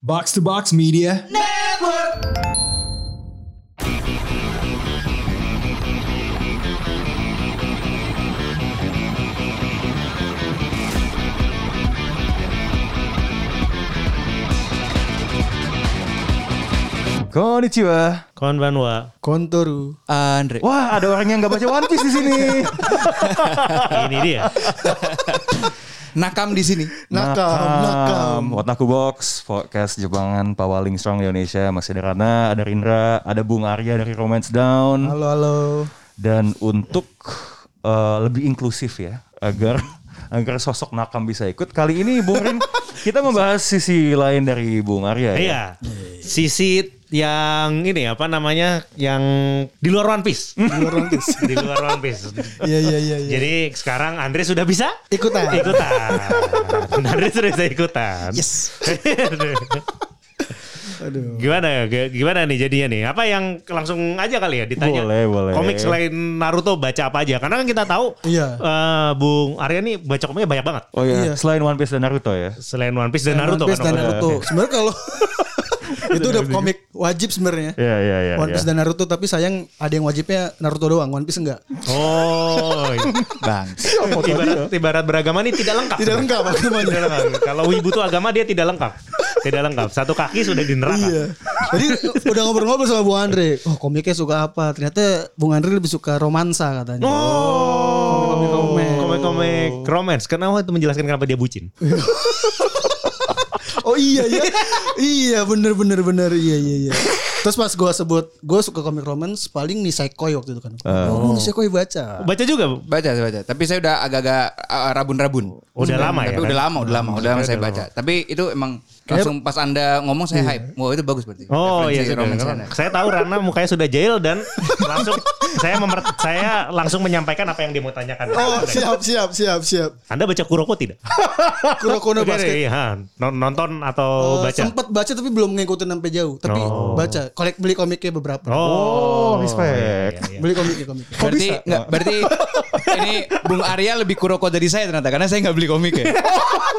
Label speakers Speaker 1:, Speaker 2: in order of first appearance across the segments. Speaker 1: Box to Box Media.
Speaker 2: Eh,
Speaker 3: Konnichiwa.
Speaker 4: Konbanwa.
Speaker 5: Kontoru.
Speaker 2: Andre.
Speaker 3: Wah, ada orang yang nggak baca One Piece di sini.
Speaker 4: Ini dia.
Speaker 2: Nakam di sini.
Speaker 5: Nakam, nakam.
Speaker 3: Otaku Box, podcast Jepangan Pawaling Strong Indonesia. Masih ada Rana, ada Rindra, ada Bung Arya dari Romance Down.
Speaker 5: Halo, halo.
Speaker 3: Dan untuk eh, lebih inklusif ya, agar agar sosok nakam bisa ikut. Kali ini Bung Rin, kita membahas sisi lain dari Bung Arya ya.
Speaker 4: Iya. Sisi yang ini apa namanya yang di luar One Piece. Di luar One Piece. di luar One Piece.
Speaker 5: Iya, iya, iya. iya.
Speaker 4: Jadi sekarang Andre sudah bisa
Speaker 5: Ikutan.
Speaker 4: ikutan. Andre sudah bisa ikutan.
Speaker 5: Yes. Aduh.
Speaker 4: gimana G- gimana nih jadinya nih? Apa yang langsung aja kali ya ditanya?
Speaker 3: Boleh, boleh.
Speaker 4: Komik selain Naruto baca apa aja? Karena kan kita tahu
Speaker 5: Iya.
Speaker 4: eh, Bung Arya nih baca komiknya banyak banget.
Speaker 3: Oh iya,
Speaker 5: Iya.
Speaker 3: selain One Piece dan Naruto ya.
Speaker 4: Selain One Piece dan
Speaker 5: One
Speaker 4: Naruto
Speaker 5: Piece
Speaker 4: kan. Om?
Speaker 5: dan Naruto. Sebenarnya kalau itu udah komik wajib sebenarnya.
Speaker 3: Iya, iya, iya.
Speaker 5: One Piece
Speaker 3: iya.
Speaker 5: dan Naruto tapi sayang ada yang wajibnya Naruto doang, One Piece enggak.
Speaker 4: Oh.
Speaker 2: Bang.
Speaker 4: ibarat, ibarat beragama ini tidak lengkap.
Speaker 5: Tidak lengkap
Speaker 4: Tidak
Speaker 5: agamanya.
Speaker 4: lengkap. Kalau wibu itu agama dia tidak lengkap. Tidak lengkap. Satu kaki sudah di neraka.
Speaker 5: Iya. Jadi udah ngobrol-ngobrol sama Bung Andre. Oh komiknya suka apa? Ternyata Bung Andre lebih suka romansa katanya.
Speaker 4: Oh.
Speaker 5: Komik-komik.
Speaker 4: Komik-komik romance. Kenapa itu menjelaskan kenapa dia bucin?
Speaker 5: Oh iya ya. iya bener bener bener iya iya iya. Terus pas gue sebut gue suka komik romance paling Nisekoi waktu itu kan. Oh, Nisekoi baca.
Speaker 4: Baca juga.
Speaker 2: Baca saya baca, tapi saya udah agak-agak uh, rabun-rabun.
Speaker 4: Udah lama ya
Speaker 2: Tapi
Speaker 4: kan?
Speaker 2: udah lama, udah lama, udah lama saya baca. Tapi itu emang langsung pas Anda ngomong saya hype. Wah, itu bagus berarti.
Speaker 4: Oh iya,
Speaker 2: Referensi
Speaker 4: sudah.
Speaker 2: romance Anda.
Speaker 4: saya tahu Rana mukanya sudah jail dan langsung saya memer saya langsung menyampaikan apa yang dia mau tanyakan.
Speaker 5: Oh siap siap siap siap.
Speaker 4: Anda baca Kuroko tidak?
Speaker 5: Kuroko no
Speaker 4: Udah deh,
Speaker 5: basket.
Speaker 4: iya, ha. Non- nonton atau
Speaker 5: Eh,
Speaker 4: Oh, baca?
Speaker 5: Sempet baca tapi belum ngikutin sampai jauh. Tapi
Speaker 4: Oh.
Speaker 5: baca. Kolek beli komiknya beberapa.
Speaker 4: Oh,
Speaker 3: respect.
Speaker 4: iya, iya, iya.
Speaker 5: Beli komiknya komiknya.
Speaker 2: Berarti enggak, berarti ini Bung Arya lebih kuroko dari saya ternyata karena saya nggak beli komik ya.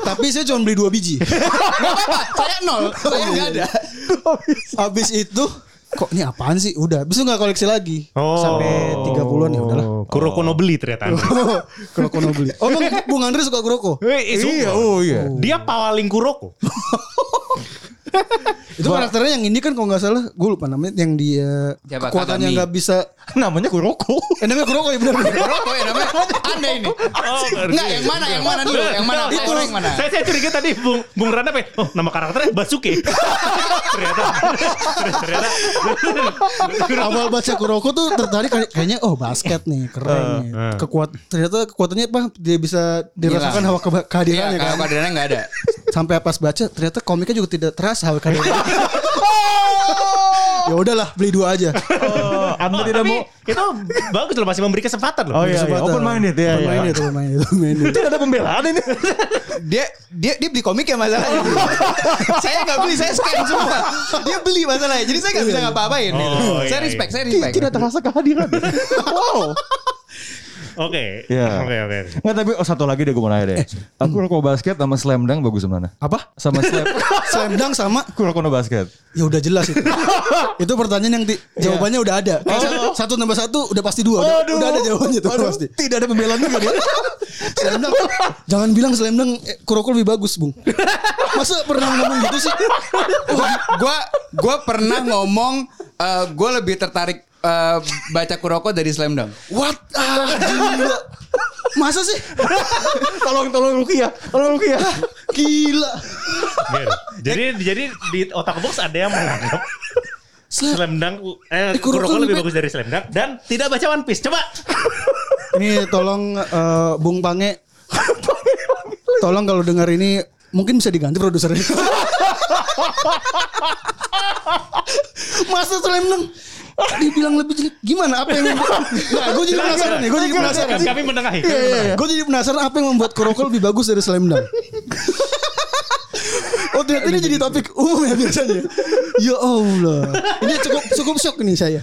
Speaker 5: tapi saya cuma beli dua biji.
Speaker 2: Nggak apa-apa, saya nol,
Speaker 4: Oh,
Speaker 2: saya
Speaker 4: iya,
Speaker 2: nggak ada.
Speaker 5: Habis itu kok ini apaan sih? Udah, habis itu nggak koleksi lagi.
Speaker 4: Oh.
Speaker 5: Sampai 30-an ya udahlah. Oh.
Speaker 4: Kuroko no beli ternyata. Anda.
Speaker 5: Kuroko no beli. Oh, Bang, Bung Andre suka Kuroko.
Speaker 4: Wih, iya, oh iya. Dia pawaling Kuroko.
Speaker 5: Itu karakternya yang ini kan kalau nggak salah, gue lupa namanya yang dia
Speaker 2: Siapa?
Speaker 5: kekuatannya
Speaker 2: Kagami.
Speaker 5: nggak bisa.
Speaker 3: Namanya Kuroko.
Speaker 5: Eh, namanya Kuroko ya benar.
Speaker 2: Kuroko ya namanya. Anda ini. Enggak, yang mana? Yang mana dulu? Yang mana? Itu yang mana?
Speaker 4: Oh, Saya, saya curiga tadi Bung Bung Randa pengen, oh nama karakternya Basuke. ternyata ternyata
Speaker 5: Awal baca Kuroko tuh tertarik kayak- kayaknya oh basket nih keren. nih.
Speaker 4: Eh, eh.
Speaker 5: Kekuat ternyata kekuatannya apa? Dia bisa dirasakan
Speaker 2: Hilang.
Speaker 5: hawa keba-
Speaker 2: Iya,
Speaker 5: kehadirannya
Speaker 2: kalau
Speaker 5: kan.
Speaker 2: keadaannya nggak ada.
Speaker 5: Sampai pas baca ternyata komiknya juga tidak terasa hawa kehadirannya. ya udahlah beli dua aja.
Speaker 3: Oh, Anda tidak
Speaker 4: tapi
Speaker 3: mau
Speaker 4: itu bagus loh masih memberi kesempatan loh.
Speaker 3: Oh iya, iya.
Speaker 5: Kesempatan.
Speaker 3: open minded ya.
Speaker 5: Open
Speaker 3: iya.
Speaker 5: minded, open minded, open minded.
Speaker 3: Tidak ada pembelaan ini.
Speaker 2: dia dia dia beli komik ya masalahnya. saya nggak beli, saya scan semua. Dia beli masalahnya. Jadi saya nggak bisa ngapa-ngapain.
Speaker 4: Oh,
Speaker 2: gitu.
Speaker 4: iya,
Speaker 2: saya
Speaker 4: iya.
Speaker 2: respect, saya respect.
Speaker 3: Tidak terasa kehadiran. wow.
Speaker 4: Oke.
Speaker 3: Iya.
Speaker 4: Oke oke.
Speaker 3: Nggak tapi oh, satu lagi deh gue mau nanya deh. Aku Kuroko basket sama slam dunk bagus mana?
Speaker 5: Apa?
Speaker 3: Sama slam
Speaker 5: Slam dunk sama
Speaker 3: Kuroko no basket.
Speaker 5: ya udah jelas itu. itu pertanyaan yang di-
Speaker 3: Iya.
Speaker 5: jawabannya udah ada.
Speaker 3: Oh.
Speaker 5: Kayak satu- Satu tambah satu udah pasti dua. Udah, udah ada jawabannya tuh pasti.
Speaker 3: Tidak ada pembelaan juga dia.
Speaker 5: Slam dunk. Jangan bilang slam dunk eh, Kuroko lebih bagus, Bung. Masa pernah ngomong gitu sih?
Speaker 2: Gua- gua gua pernah ngomong eh, gua lebih tertarik eh, baca Kuroko dari Slam Dunk.
Speaker 5: What? Ah, gila. Masa sih?
Speaker 3: tolong tolong Ruki ya. Tolong Ruki ya.
Speaker 5: Gila.
Speaker 4: Biar. Jadi jadi di otak box ada yang menganggap
Speaker 5: Slam.
Speaker 4: Slam Dunk eh,
Speaker 5: Eh, Kuroko
Speaker 4: Kuroko lebih
Speaker 5: lebih-
Speaker 4: bagus dari Slam Dunk dan tidak baca One Piece. Coba.
Speaker 5: Ini tolong eh, Bung Pange. Tolong kalau dengar ini mungkin bisa diganti produsernya. Masa slam dunk dibilang lebih jelek gimana apa yang nah, gue jadi penasaran nih gue jadi penasaran
Speaker 4: Kan Kami menengahi.
Speaker 5: Iya, iya, iya. Gue jadi penasaran apa yang membuat Kuroko lebih bagus dari Slam Dunk. Oh ternyata ini jadi topik umum ya biasanya. Ya Allah. Ini cukup cukup shock nih saya.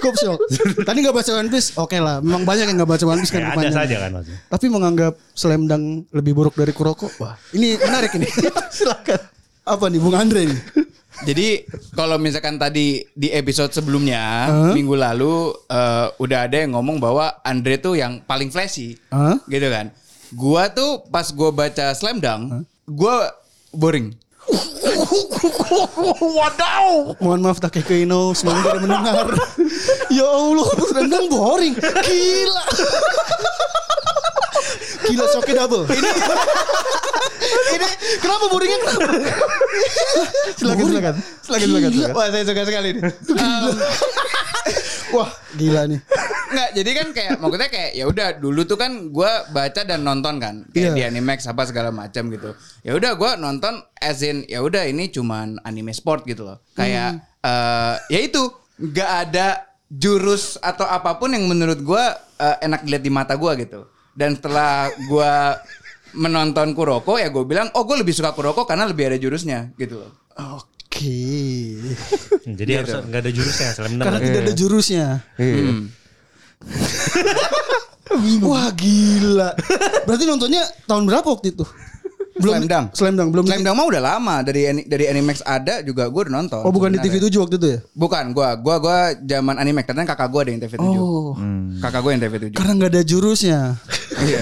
Speaker 5: Cukup shock. Tadi nggak baca One Piece, oke lah. Memang banyak yang nggak baca One Piece kan
Speaker 4: Ya, ada
Speaker 5: kepanjangan.
Speaker 4: saja kan maksudnya.
Speaker 5: Tapi menganggap Slam Dunk lebih buruk dari Kuroko, wah ini menarik ini. Silakan. Apa nih Bung Andre nih?
Speaker 2: Jadi kalau misalkan tadi di episode sebelumnya minggu lalu eh, udah ada yang ngomong bahwa Andre tuh yang paling flashy,
Speaker 5: Huh?
Speaker 2: gitu kan. Gua tuh pas gua baca Slam Dunk, gua boring. Wadaw.
Speaker 5: Mohon maaf Takeko Ino semoga tidak mendengar. ya Allah, bos rendang boring. Gila. Gila shocknya double. Ini
Speaker 2: Ini
Speaker 5: kenapa boringnya kenapa?
Speaker 3: Silakan,
Speaker 5: Boring.
Speaker 3: silakan.
Speaker 2: lagi lagi.
Speaker 5: Gila.
Speaker 2: Wah, saya suka sekali nih.
Speaker 5: Um, Wah, gila nih.
Speaker 2: Nggak, jadi kan kayak maksudnya kayak ya udah dulu tuh kan gua baca dan nonton kan kayak
Speaker 5: Iya.
Speaker 2: di Animax apa segala macam gitu. Ya udah gua nonton as in ya udah ini cuman anime sport gitu loh. Kayak
Speaker 5: Hmm.
Speaker 2: eh, ya itu nggak ada jurus atau apapun yang menurut gua eh, enak dilihat di mata gua gitu. Dan setelah gua menonton Kuroko ya gue bilang oh gue lebih suka Kuroko karena lebih ada jurusnya gitu loh.
Speaker 5: Oke.
Speaker 4: Jadi harus nggak ada jurusnya Slam Dunk.
Speaker 5: Karena tidak ada jurusnya.
Speaker 3: Iya.
Speaker 2: Hmm.
Speaker 5: Wah, gila. Berarti nontonnya tahun berapa waktu itu?
Speaker 2: Slam Dunk.
Speaker 5: Slam Dunk, belum.
Speaker 2: Slam Dunk mah udah lama dari ani- dari Animax ada juga gue udah nonton.
Speaker 5: Oh, bukan di
Speaker 2: sebenarnya.
Speaker 5: TV 7 waktu itu ya?
Speaker 2: Bukan, gua gua gua zaman anime karena kakak gua ada yang TV 7.
Speaker 5: Oh.
Speaker 2: Kakak gua yang TV 7.
Speaker 5: Karena nggak ada jurusnya.
Speaker 2: Iya.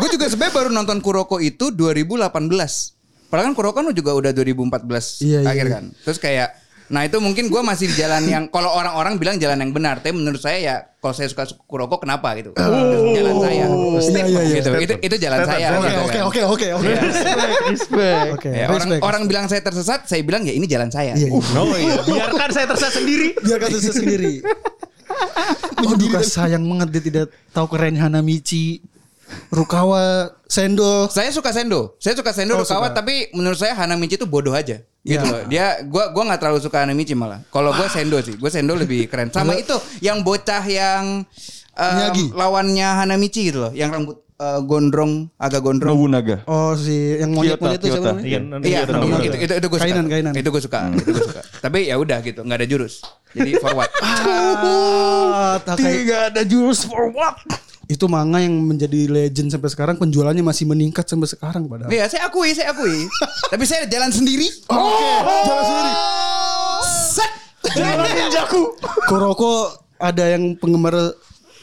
Speaker 2: gua juga sebenarnya baru nonton Kuroko itu 2018. Padahal kan Kuroko kan juga udah 2014
Speaker 5: Iya, iya,
Speaker 2: akhir
Speaker 5: iya.
Speaker 2: kan. Terus kayak nah itu mungkin gua masih di jalan yang kalau orang-orang bilang jalan yang benar, tapi menurut saya ya kalau saya suka Kuroko kenapa
Speaker 5: Oh.
Speaker 2: gitu. Itu jalan saya.
Speaker 5: Iya, iya, iya.
Speaker 2: Gitu. Itu itu jalan saya.
Speaker 5: Oke,
Speaker 2: gitu
Speaker 5: oke,
Speaker 2: kan.
Speaker 5: oke, Iya, oke, oke.
Speaker 3: Respect.
Speaker 5: Oke,
Speaker 2: Ya, orang
Speaker 5: respect.
Speaker 2: orang bilang saya tersesat, saya bilang ya ini jalan saya.
Speaker 5: Iya, iya.
Speaker 4: Oh iya, biarkan saya tersesat sendiri.
Speaker 5: Biar kata saya sendiri. Aduh kak, sayang banget dia tidak tahu keren Hanamichi, Rukawa, Sendo.
Speaker 2: Saya suka Sendo. Saya suka Sendo
Speaker 5: Oh,
Speaker 2: Rukawa
Speaker 5: suka.
Speaker 2: tapi menurut saya Hanamichi itu bodoh aja. Gitu
Speaker 5: Iya.
Speaker 2: loh. Dia gua gua nggak terlalu suka Hanamichi malah. Kalau gua Sendo sih. Gua Sendo lebih keren. Sama itu yang bocah yang em,
Speaker 5: Miyagi.
Speaker 2: lawannya Hanamichi gitu loh, yang rambut eh, gondrong, agak gondrong.
Speaker 3: Nobunaga.
Speaker 5: Oh si yang monyet-monyet
Speaker 3: Kyoto,
Speaker 5: itu siapa
Speaker 3: Kyoto.
Speaker 5: namanya?
Speaker 4: Iya,
Speaker 2: Iya,
Speaker 4: tenang,
Speaker 2: itu,
Speaker 4: tenang.
Speaker 2: itu, itu, itu gue suka.
Speaker 5: Kainan, kainan.
Speaker 2: Itu gue suka, itu gue suka. Tapi ya udah gitu, nggak ada jurus. Jadi forward.
Speaker 5: Ah, Takai.
Speaker 3: Tidak ada jurus for what?
Speaker 5: Itu manga yang menjadi legend sampai sekarang penjualannya masih meningkat sampai sekarang padahal.
Speaker 2: Iya, saya akui, saya akui. Tapi saya jalan sendiri. Oh.
Speaker 5: Oke, jalan sendiri.
Speaker 2: Set.
Speaker 3: Jalan ninjaku.
Speaker 5: Kuroko ada yang penggemar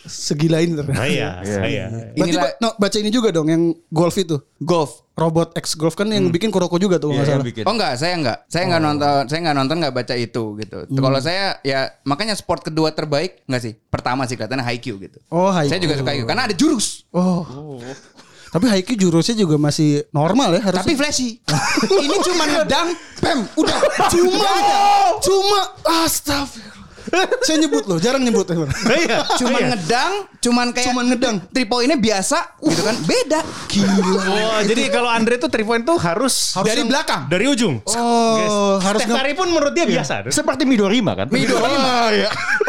Speaker 5: segila ini
Speaker 4: Ah,
Speaker 5: ternyata.
Speaker 4: Iya,
Speaker 3: Iya.
Speaker 4: iya.
Speaker 5: Berarti
Speaker 2: Inilah-
Speaker 5: ba- no, baca ini juga dong yang golf itu.
Speaker 2: Golf. Hmm.
Speaker 5: Robot X Golf kan yang bikin Kuroko juga tuh
Speaker 3: Iya,
Speaker 5: kalau nggak
Speaker 3: yang
Speaker 5: salah.
Speaker 3: bikin.
Speaker 2: Oh enggak, saya enggak. Saya enggak nonton, saya enggak nonton enggak baca itu gitu. Kalau saya ya makanya sport kedua terbaik enggak sih? Pertama sih kelihatannya Haikyuu gitu.
Speaker 5: Oh, Haikyuu.
Speaker 2: Saya juga suka Haikyuu karena ada jurus,
Speaker 5: Oh. Tapi Haikyuu jurusnya juga masih normal ya harusnya.
Speaker 2: tapi flashy. Ini cuma
Speaker 5: Iya.
Speaker 2: ngedang, pem, udah.
Speaker 5: cuma cuma astagfirullah. Saya nyebut loh, jarang nyebut.
Speaker 4: Iya.
Speaker 2: Cuma ngedang, cuman kayak
Speaker 5: Cuman ngedang.
Speaker 2: Triple ini biasa gitu kan. Beda.
Speaker 5: Gila.
Speaker 4: Wah, Oh, jadi kalau Andre tuh three point tuh harus
Speaker 5: Harus
Speaker 2: Dari
Speaker 5: yang-
Speaker 2: belakang.
Speaker 4: dari ujung. Guys,
Speaker 5: Oh, harus
Speaker 4: Steph
Speaker 5: nge-
Speaker 4: Curry pun menurut dia biasa.
Speaker 3: Seperti Midorima kan?
Speaker 2: Midorima.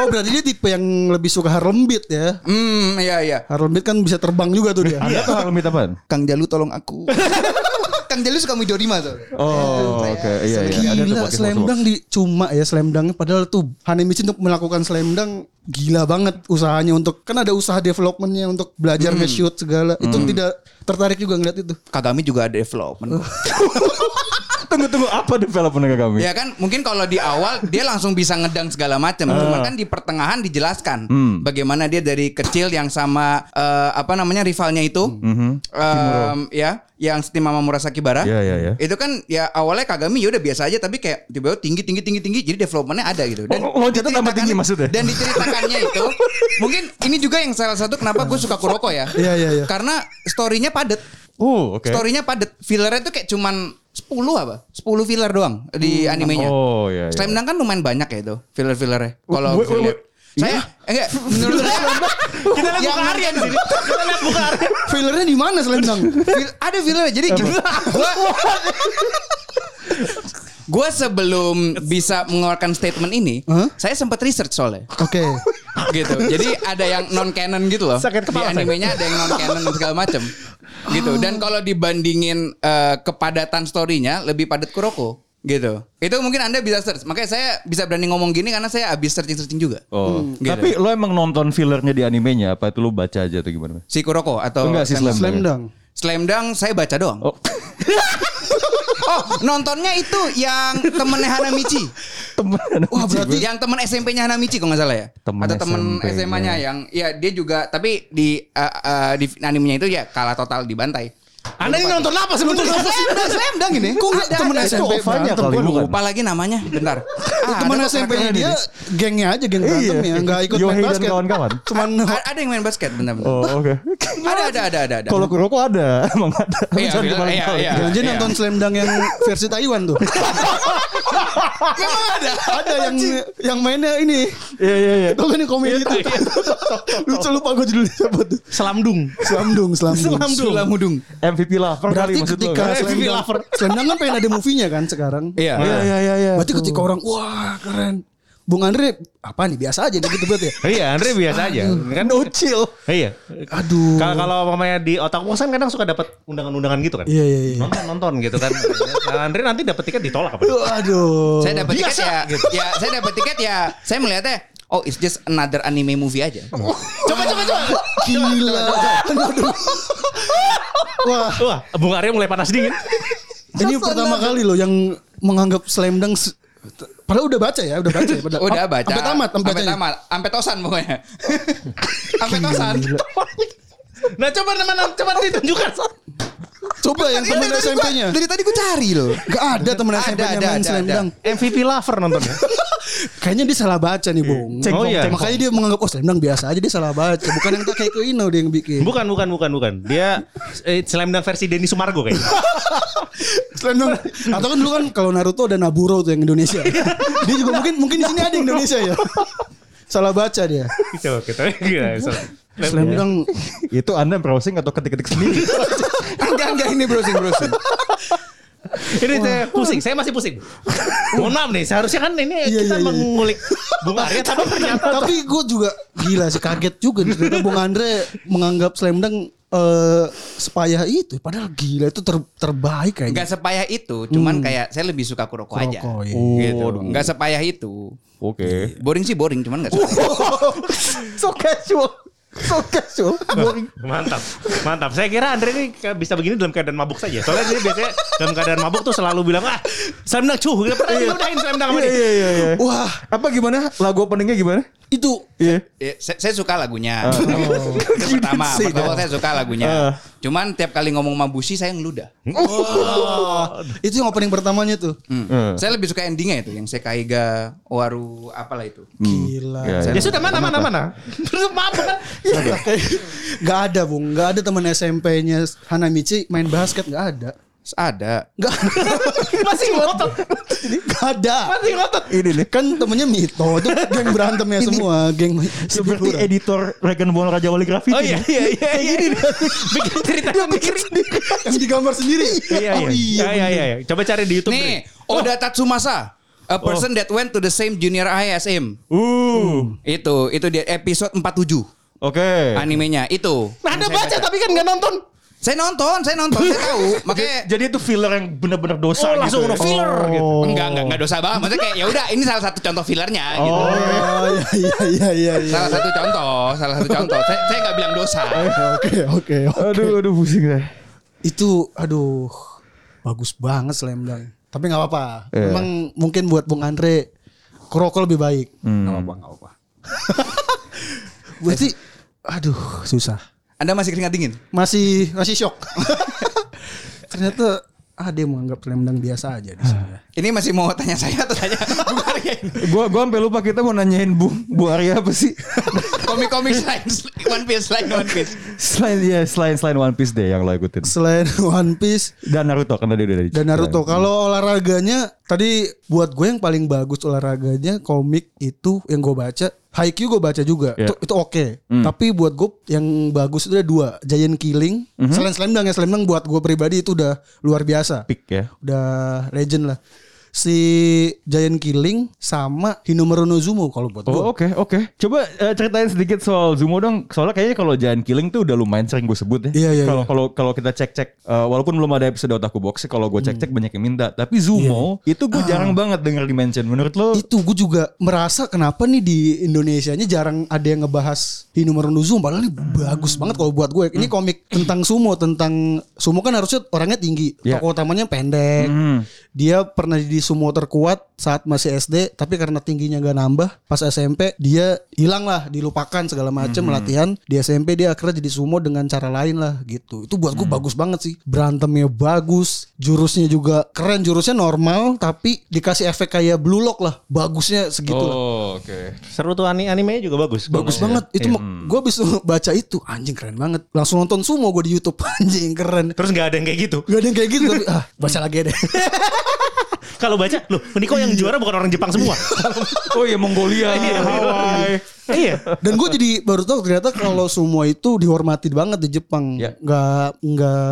Speaker 5: Oh, berarti dia tipe yang lebih suka Harlem Beat ya.
Speaker 2: Hmm, iya iya.
Speaker 5: Harlem Beat kan bisa terbang juga tuh dia.
Speaker 3: Anda tuh Harlem apaan?
Speaker 2: Kang Jalu tolong aku. Kang Jalu suka Midorima tuh.
Speaker 3: Oh,
Speaker 2: Eh,
Speaker 3: oke. Iya, iya. Ada tuh
Speaker 5: Gila,
Speaker 3: podcast
Speaker 5: slam
Speaker 3: box-box.
Speaker 5: dunk di cuma ya slam dunknya padahal tuh Hanemichi untuk melakukan slam dunk gila banget usahanya untuk kan ada usaha developmentnya untuk belajar nge-shoot segala itu tidak tertarik juga ngeliat itu
Speaker 2: Kagami juga ada development.
Speaker 3: Tunggu, tunggu. Apa development kami?
Speaker 2: Ya kan mungkin kalau di awal dia langsung bisa ngedang segala macam. Cuman kan di pertengahan dijelaskan
Speaker 3: Hmm.
Speaker 2: bagaimana dia dari kecil yang sama eh, apa namanya rivalnya itu em, ya yang Steam sama Murasaki Bara.
Speaker 3: Mhm. Iya, iya, iya.
Speaker 2: Itu kan ya awalnya Kagami ya udah biasa aja tapi kayak tiba-tiba tinggi tinggi tinggi tinggi jadi developmentnya ada gitu.
Speaker 3: Oh, oh, loncat tambah tinggi
Speaker 2: diceritakan-
Speaker 3: maksudnya?
Speaker 2: Dan diceritakannya itu mungkin ini juga yang salah satu kenapa gue suka Kuroko ya.
Speaker 5: Iya, iya, iya.
Speaker 2: Karena story-nya padat.
Speaker 3: Oh, oke.
Speaker 2: Story-nya padet. Fillernya tuh kayak cuman 10 apa? 10 filler doang di animenya.
Speaker 3: Oh, iya, iya.
Speaker 2: Slam Dunk kan lumayan banyak ya itu filler-fillernya. Kalau
Speaker 3: Wait, wait,
Speaker 2: filler.
Speaker 3: wait.
Speaker 2: Saya eh,
Speaker 4: Iya.
Speaker 2: enggak menurut saya
Speaker 4: Kita lihat
Speaker 2: Yang
Speaker 4: buka Arya di sini. Kita lihat buka Arya.
Speaker 5: Fillernya di mana slam dunk?
Speaker 2: fil- ada filler jadi gini. Gua Gua sebelum bisa mengeluarkan statement ini,
Speaker 5: Huh?
Speaker 2: saya sempat research soalnya.
Speaker 5: Oke.
Speaker 2: gitu. Jadi ada yang non canon gitu loh.
Speaker 4: Sakit kepala
Speaker 2: di animenya ada yang non canon dan segala macem gitu. Dan kalau dibandingin eh, kepadatan storynya lebih padat Kuroko gitu. Itu mungkin Anda bisa search. Makanya saya bisa berani ngomong gini karena saya habis searching-searching juga.
Speaker 3: Oh,
Speaker 2: gitu.
Speaker 3: tapi lo emang nonton fillernya di animenya apa itu lo baca aja atau gimana?
Speaker 2: Si Kuroko atau
Speaker 3: Enggak, si
Speaker 2: Slam
Speaker 3: Slam.
Speaker 2: Dunk?
Speaker 5: Slam dunk.
Speaker 2: Slam Dunk saya baca doang.
Speaker 3: Oh.
Speaker 2: Oh, nontonnya itu yang temennya Hanamichi.
Speaker 3: Temen.
Speaker 2: Wah, berarti yang temen SMP-nya Hanamichi kalau nggak salah ya?
Speaker 3: Temen
Speaker 2: Atau temen
Speaker 3: SMP-nya.
Speaker 2: SMA-nya yang ya dia juga tapi di eh, eh, di animenya itu ya kalah total dibantai.
Speaker 4: Anda ini nonton apa sebetulnya?
Speaker 2: Slam dunk ini. Kok
Speaker 5: nggak temen
Speaker 3: Itu
Speaker 5: SMP
Speaker 3: ovanya
Speaker 5: berantem,
Speaker 3: kali
Speaker 5: gua
Speaker 3: bukan.
Speaker 2: Lupa lagi namanya. Bentar. Ah,
Speaker 5: teman
Speaker 2: ada kok
Speaker 5: SMP
Speaker 2: karakternya
Speaker 5: dia
Speaker 2: di-
Speaker 5: gengnya aja geng berantem ya nggak ikut
Speaker 3: Yohei
Speaker 5: main
Speaker 3: dan
Speaker 5: basket
Speaker 3: kawan-kawan.
Speaker 5: cuman
Speaker 2: A- ada yang main basket bentar-bentar.
Speaker 3: Oh, oke.
Speaker 2: Ada ada ada ada ada.
Speaker 3: Kalau Kuroko ada, emang ada. Tapi
Speaker 2: Iya,
Speaker 3: jangan
Speaker 2: iya,
Speaker 3: dibalik-balik.
Speaker 2: iya,
Speaker 5: janji
Speaker 2: iya.
Speaker 5: nonton slam dunk yang versi Taiwan tuh
Speaker 2: Emang ada.
Speaker 5: ada yang yang mainnya ini
Speaker 3: Iya, iya, iya.
Speaker 5: itu kan yang komedi itu lucu lupa gue judulnya siapa tuh
Speaker 4: Selamdung.
Speaker 5: Slamdung Slamdung
Speaker 4: Selamdung.
Speaker 2: Sulamudung.
Speaker 3: MVP lover kali
Speaker 5: berarti
Speaker 3: maksud lo.
Speaker 5: ketika
Speaker 3: kan?
Speaker 5: slam
Speaker 4: Heavy
Speaker 5: dunk
Speaker 4: lover.
Speaker 5: slam dunk kan pengen ada movie-nya kan sekarang
Speaker 2: Iya.
Speaker 3: Iya, iya, iya, iya.
Speaker 5: berarti ketika orang wah keren Bung Andre apa nih biasa aja nih gitu berarti ya
Speaker 4: Iya, Andre biasa aja. Kan
Speaker 5: no chill
Speaker 4: Iya.
Speaker 5: aduh
Speaker 4: Kalau kalau mamanya di otak kosan kadang suka dapat undangan-undangan gitu kan.
Speaker 5: Iya, iya, iya.
Speaker 4: Nonton nonton gitu kan. Nah, Andre nanti dapat tiket ditolak apa?
Speaker 5: aduh
Speaker 2: Saya dapat tiket
Speaker 4: biasa,
Speaker 2: ya. Ya, saya dapat tiket ya. Saya melihatnya Oh, it's just another anime movie aja.
Speaker 4: Coba coba coba.
Speaker 5: gila Aduh. wah
Speaker 4: Wah, Bung Arya mulai panas dingin.
Speaker 5: Ini pertama kali loh yang menganggap slam dunk se- padahal udah baca ya, udah baca ya. padahal.
Speaker 2: Udah
Speaker 5: Am-
Speaker 2: baca.
Speaker 5: Sampai tamat, sampai
Speaker 2: Sampai
Speaker 5: bacanya.
Speaker 2: tamat. Sampai ya? tosan pokoknya. Sampai tosan.
Speaker 4: Nah, coba teman coba ditunjukkan.
Speaker 5: Coba yang
Speaker 2: Iya,
Speaker 5: temen
Speaker 2: dari tadi gua-
Speaker 5: SMP-nya.
Speaker 2: Dari tadi gue cari loh.
Speaker 5: Gak ada temen
Speaker 2: Ada,
Speaker 5: SMP-nya
Speaker 2: ada,
Speaker 5: main
Speaker 2: ada,
Speaker 5: slam
Speaker 2: ada.
Speaker 5: dunk.
Speaker 4: MVP lover nontonnya.
Speaker 5: Kayaknya dia salah baca nih, Bung.
Speaker 4: Cengkong, cengkong.
Speaker 5: Makanya dia menganggap oh slam dunk biasa aja dia salah baca. Bukan yang tak kayak Ino dia yang bikin.
Speaker 4: Bukan, bukan, bukan, bukan. Dia eh, slam dunk versi Denny Sumargo kayaknya.
Speaker 5: Slam dunk. Iya. Atau kan dulu kan kalau Naruto dan Naburo tuh yang Indonesia. dia juga mungkin mungkin di sini ada Indonesia ya. salah baca dia.
Speaker 4: Coba kita Gitu, gila. sorry.
Speaker 5: Slam dunk
Speaker 3: Itu Anda browsing atau ketik-ketik sendiri?
Speaker 2: Enggak, enggak ini browsing, browsing.
Speaker 4: Ini saya pusing, saya masih pusing. Mohon maaf nih, seharusnya kan ini
Speaker 5: Iya,
Speaker 4: kita
Speaker 5: iya, iya.
Speaker 4: mengulik Bung Arya tapi ternyata
Speaker 5: Tapi gue juga gila sih kaget juga ternyata Bung Andre menganggap slam dunk eh, sepayah itu. Padahal gila itu ter- terbaik
Speaker 2: Enggak
Speaker 5: kayaknya.
Speaker 2: sepayah itu, cuman kayak saya lebih suka Hmm. Kuroko, aja.
Speaker 5: Kuroko, iya.
Speaker 2: Gitu. Enggak sepayah itu.
Speaker 3: Oke.
Speaker 2: Boring sih boring, cuman enggak sepayah.
Speaker 5: so casual. So casual. Boring.
Speaker 4: Mantap, mantap. Saya kira Andre ini ke- bisa begini dalam keadaan mabuk saja. Soalnya dia biasanya dalam keadaan mabuk tuh selalu bilang ah slam dunk cuh. Gak pernah diudahin slam dunk sama
Speaker 3: Iya,
Speaker 4: dia.
Speaker 3: iya, iya, iya.
Speaker 5: Wah
Speaker 3: Apa gimana? Lagu openingnya gimana?
Speaker 5: itu
Speaker 3: Iya.
Speaker 2: Ya, saya, saya suka lagunya. Itu pertama,
Speaker 5: Gini sih,
Speaker 2: pertama
Speaker 5: dah.
Speaker 2: saya suka lagunya.
Speaker 3: Eh.
Speaker 2: Cuman tiap kali ngomong Mabushi saya ngeludah.
Speaker 5: iya. Wah, Ah, itu yang opening pertamanya tuh.
Speaker 2: Hmm.
Speaker 3: Eh.
Speaker 2: Saya lebih suka endingnya itu yang Sekaiga Waru apalah itu.
Speaker 5: Gila.
Speaker 3: Iya,
Speaker 4: Ya sudah mana mana mana. Terus mabuk kan.
Speaker 5: Iya. Gak ada bung, gak ada teman SMP-nya Hanamichi main basket gak ada.
Speaker 2: Terus ada.
Speaker 5: Gak
Speaker 4: Masih ngotot.
Speaker 5: gak ada.
Speaker 4: Masih ngotot.
Speaker 5: Ini nih kan temennya Mito itu geng berantemnya semua, geng
Speaker 3: Seperti editor Dragon Ball Raja Wali Graffiti.
Speaker 4: Oh iya
Speaker 3: nih.
Speaker 4: iya iya. iya. Bikin cerita bikin.
Speaker 5: yang digambar sendiri.
Speaker 4: Iya iya.
Speaker 5: Oh, iya.
Speaker 4: Iya iya iya. Coba cari di YouTube. Nah,
Speaker 2: Nih,
Speaker 4: Dre.
Speaker 2: Oda Tatsumasa. A person that went to the same junior high as him.
Speaker 3: Uh.
Speaker 2: Itu, itu dia episode 47
Speaker 3: Oke.
Speaker 2: animenya. Itu.
Speaker 4: Nah, Anda baca tapi kan gak nonton.
Speaker 2: Saya nonton, saya nonton, saya tahu. Makanya
Speaker 3: Jadi itu filler yang benar-benar dosa
Speaker 4: Oh langsung
Speaker 3: gitu.
Speaker 4: no
Speaker 3: ya?
Speaker 4: filler gitu.
Speaker 2: enggak enggak enggak dosa banget. Maksudnya kayak ya udah ini salah satu contoh fillernya gitu.
Speaker 5: Oh iya iya iya iya.
Speaker 2: Salah satu contoh, salah satu contoh. Saya saya nggak bilang dosa.
Speaker 5: Oke oke oke.
Speaker 3: Aduh, aduh pusing saya.
Speaker 5: Itu aduh bagus banget slam dunk. Tapi nggak apa-apa.
Speaker 3: Iya.
Speaker 5: Memang mungkin buat Bung Andre Kuroko lebih baik.
Speaker 2: Enggak
Speaker 3: Hmm.
Speaker 2: apa-apa, enggak apa-apa.
Speaker 5: Berarti aduh susah.
Speaker 2: Anda masih keringat dingin?
Speaker 5: Masih masih shock. Ternyata ada yang menganggap slam dunk biasa aja di sini.
Speaker 2: Ini masih mau tanya saya atau tanya Bung Arya?
Speaker 3: Gua gua sampai lupa kita mau nanyain Bung Bung Arya apa sih?
Speaker 2: Komik-komik selain One Piece, selain One Piece.
Speaker 3: selain ya selain selain One Piece deh yang lo ikutin.
Speaker 5: Selain One Piece
Speaker 3: Dan Naruto karena dia udah dari
Speaker 5: dan Naruto.
Speaker 3: Iya.
Speaker 5: Kalau olahraganya tadi buat gue yang paling bagus olahraganya komik itu yang gue baca Haikyuu gue baca juga
Speaker 3: Iya.
Speaker 5: itu, itu oke tapi buat gue yang bagus itu ada dua Giant Killing
Speaker 3: Mhm.
Speaker 5: selain Slam Dunk ya Slam Dunk buat gue pribadi itu udah luar biasa
Speaker 3: Pick ya.
Speaker 5: udah legend lah si Giant Killing sama Hinomaru no Zumo kalau buat gue.
Speaker 3: Oh oke oke. Coba eh, ceritain sedikit soal Zumo dong. Soalnya kayaknya kalau Giant Killing tuh udah lumayan sering gue sebut ya.
Speaker 5: Iya, iya,
Speaker 3: Kalau
Speaker 5: iya.
Speaker 3: kalau kalau kita cek cek, walaupun belum ada episode otaku box, kalau gue cek
Speaker 5: Hmm.
Speaker 3: cek banyak yang minta. Tapi Zumo
Speaker 5: Iya,
Speaker 3: itu
Speaker 5: Ah.
Speaker 3: gue jarang banget denger di mention. Menurut lo?
Speaker 5: Itu gue juga merasa kenapa nih di Indonesianya jarang ada yang ngebahas Hinomaru no Zumo padahal ini bagus banget kalau buat gue.
Speaker 3: Hmm.
Speaker 5: Ini komik tentang sumo, tentang sumo kan harusnya orangnya tinggi,
Speaker 3: Iya.
Speaker 5: tokoh utamanya pendek.
Speaker 3: Hmm.
Speaker 5: Dia pernah jadi sumo terkuat saat masih SD, tapi karena tingginya gak nambah, pas SMP dia hilang lah, dilupakan segala macem latihan. Di SMP dia akhirnya jadi sumo dengan cara lain lah gitu. Itu buat gue bagus banget sih. Berantemnya bagus, jurusnya juga keren, jurusnya normal tapi dikasih efek kayak blue lock lah. Bagusnya segitu lah.
Speaker 3: Oh oke.
Speaker 4: Seru tuh ani- animenya juga bagus. Iya.
Speaker 5: Bagus banget. Itu gue abis baca itu anjing keren banget. Langsung nonton sumo gue di YouTube anjing keren.
Speaker 4: Terus nggak ada yang kayak gitu.
Speaker 5: Gak ada yang kayak gitu tapi ah baca lagi deh.
Speaker 4: Kalau baca, loh, ini kok yang juara bukan orang Jepang semua.
Speaker 3: Oh iya Mongolia, Hawaii.
Speaker 4: iya.
Speaker 5: Dan gue jadi baru tahu ternyata kalau semua itu dihormati banget di Jepang.
Speaker 3: Ya.
Speaker 5: Nggak nggak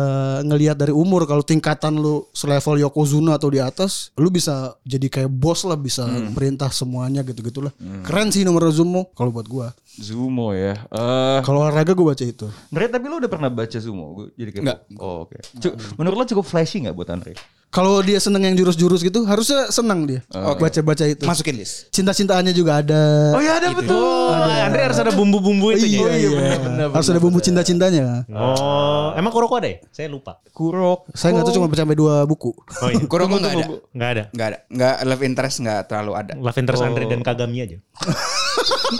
Speaker 5: ngelihat dari umur. Kalau tingkatan lu selevel Yokozuna atau di atas, lu bisa jadi kayak bos lah, bisa
Speaker 4: Hmm.
Speaker 5: perintah semuanya gitu gitulah. Keren sih nomor Zumo kalau buat gue.
Speaker 3: Zumo ya.
Speaker 4: Nah.
Speaker 3: Eh,
Speaker 5: Kalau olahraga gue baca itu.
Speaker 3: Andre tapi lo udah pernah baca Zumo? Gue jadi kayak.
Speaker 2: Nggak.
Speaker 3: Oh oke. Cu- Menurut lo cukup flashy nggak buat Andre?
Speaker 5: Kalau dia seneng yang jurus-jurus gitu, harusnya senang dia
Speaker 4: Oh, iya.
Speaker 5: baca-baca itu.
Speaker 2: Masukin list.
Speaker 5: Cinta-cintaannya juga ada.
Speaker 3: Oh iya ada betul.
Speaker 4: Oh, Andre harus ada bumbu-bumbu itu.
Speaker 5: iya,
Speaker 4: ya.
Speaker 5: iya. Harus ada bumbu cinta-cintanya.
Speaker 4: Oh, emang Kuroko ada ya? Saya lupa.
Speaker 3: Kurok.
Speaker 5: Saya nggak tahu cuma baca sampai dua buku.
Speaker 4: Oh iya.
Speaker 2: Kuroko nggak ada.
Speaker 4: Nggak ada.
Speaker 2: Nggak ada. Nggak love interest nggak terlalu ada.
Speaker 4: Lavender Andre dan Kagami aja.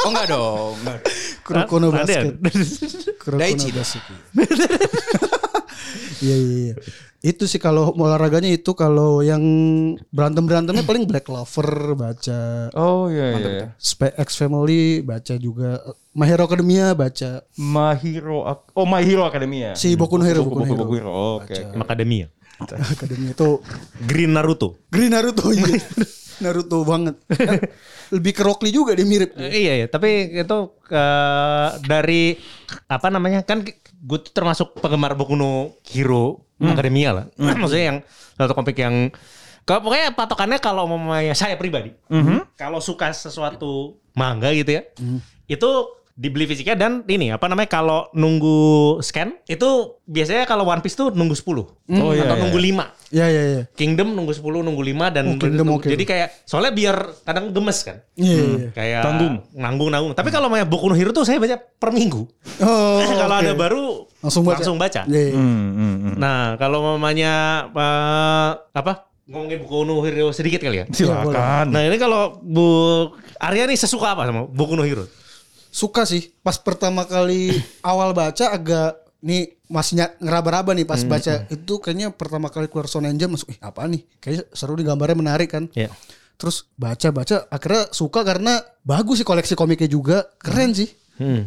Speaker 2: Oh nggak dong. Nggak ada.
Speaker 5: Kurokono
Speaker 4: Ada ya?
Speaker 5: basket. Kurokono
Speaker 2: Daichi.
Speaker 5: basket. Iya iya iya. Itu sih kalau olahraganya itu kalau yang berantem-berantemnya paling Black Clover baca
Speaker 3: Oh iya iya.
Speaker 5: Spe- X Family baca juga eh, My Hero Academia baca
Speaker 3: Mahiro Ak- Oh Mahiro Academia.
Speaker 5: si Boku no Hero Boku no Hero
Speaker 3: Boku Hero. Oh, Oke. oke.
Speaker 4: Macadamia.
Speaker 5: Academia itu
Speaker 4: ya? Green Naruto.
Speaker 5: Green Naruto iya. Naruto banget. Eh, Lebih ke Rock Lee juga dia mirip.
Speaker 4: Eh, Iya ya, tapi itu eh, dari apa namanya kan gue tuh termasuk penggemar Boku no Hero
Speaker 3: Hmm.
Speaker 4: Academia lah. Maksudnya yang satu komik yang kalau pokoknya patokannya kalau mamanya saya pribadi,
Speaker 3: Hmm.
Speaker 4: kalau suka sesuatu manga gitu ya, itu dibeli fisiknya dan ini apa namanya kalau nunggu scan itu biasanya kalau One Piece tuh nunggu 10
Speaker 3: Oh, iya,
Speaker 4: atau
Speaker 3: iya,
Speaker 4: nunggu
Speaker 3: iya.
Speaker 4: 5.
Speaker 5: Ya ya ya.
Speaker 4: Kingdom nunggu 10, nunggu 5 dan
Speaker 5: Oh, Kingdom
Speaker 4: nunggu-
Speaker 5: oke.
Speaker 4: jadi kayak soalnya biar kadang gemes kan.
Speaker 5: Iya iya, iya.
Speaker 4: Kayak
Speaker 3: Tanggung.
Speaker 4: nanggung nanggung. Tapi kalau main Boku no Hero tuh saya baca per minggu.
Speaker 5: Oh,
Speaker 4: kalau
Speaker 5: oke.
Speaker 4: ada baru
Speaker 5: langsung baca. Iya, iya.
Speaker 3: Hmm, hmm, hmm.
Speaker 4: Nah, kalau mamanya eh, apa? Ngomongin Boku no Hero sedikit kali ya.
Speaker 3: Silakan.
Speaker 4: Nah, ini kalau Bu Arya nih sesuka apa sama Boku no Hero?
Speaker 5: suka sih pas pertama kali awal baca agak nih masih nyat- ngeraba-raba nih pas baca itu kayaknya pertama kali keluar Shonen Jump masuk ih apa nih kayaknya seru nih gambarnya menarik kan
Speaker 4: Iya.
Speaker 5: terus baca-baca akhirnya suka karena bagus sih koleksi komiknya juga keren sih
Speaker 4: Hmm.
Speaker 5: Eh,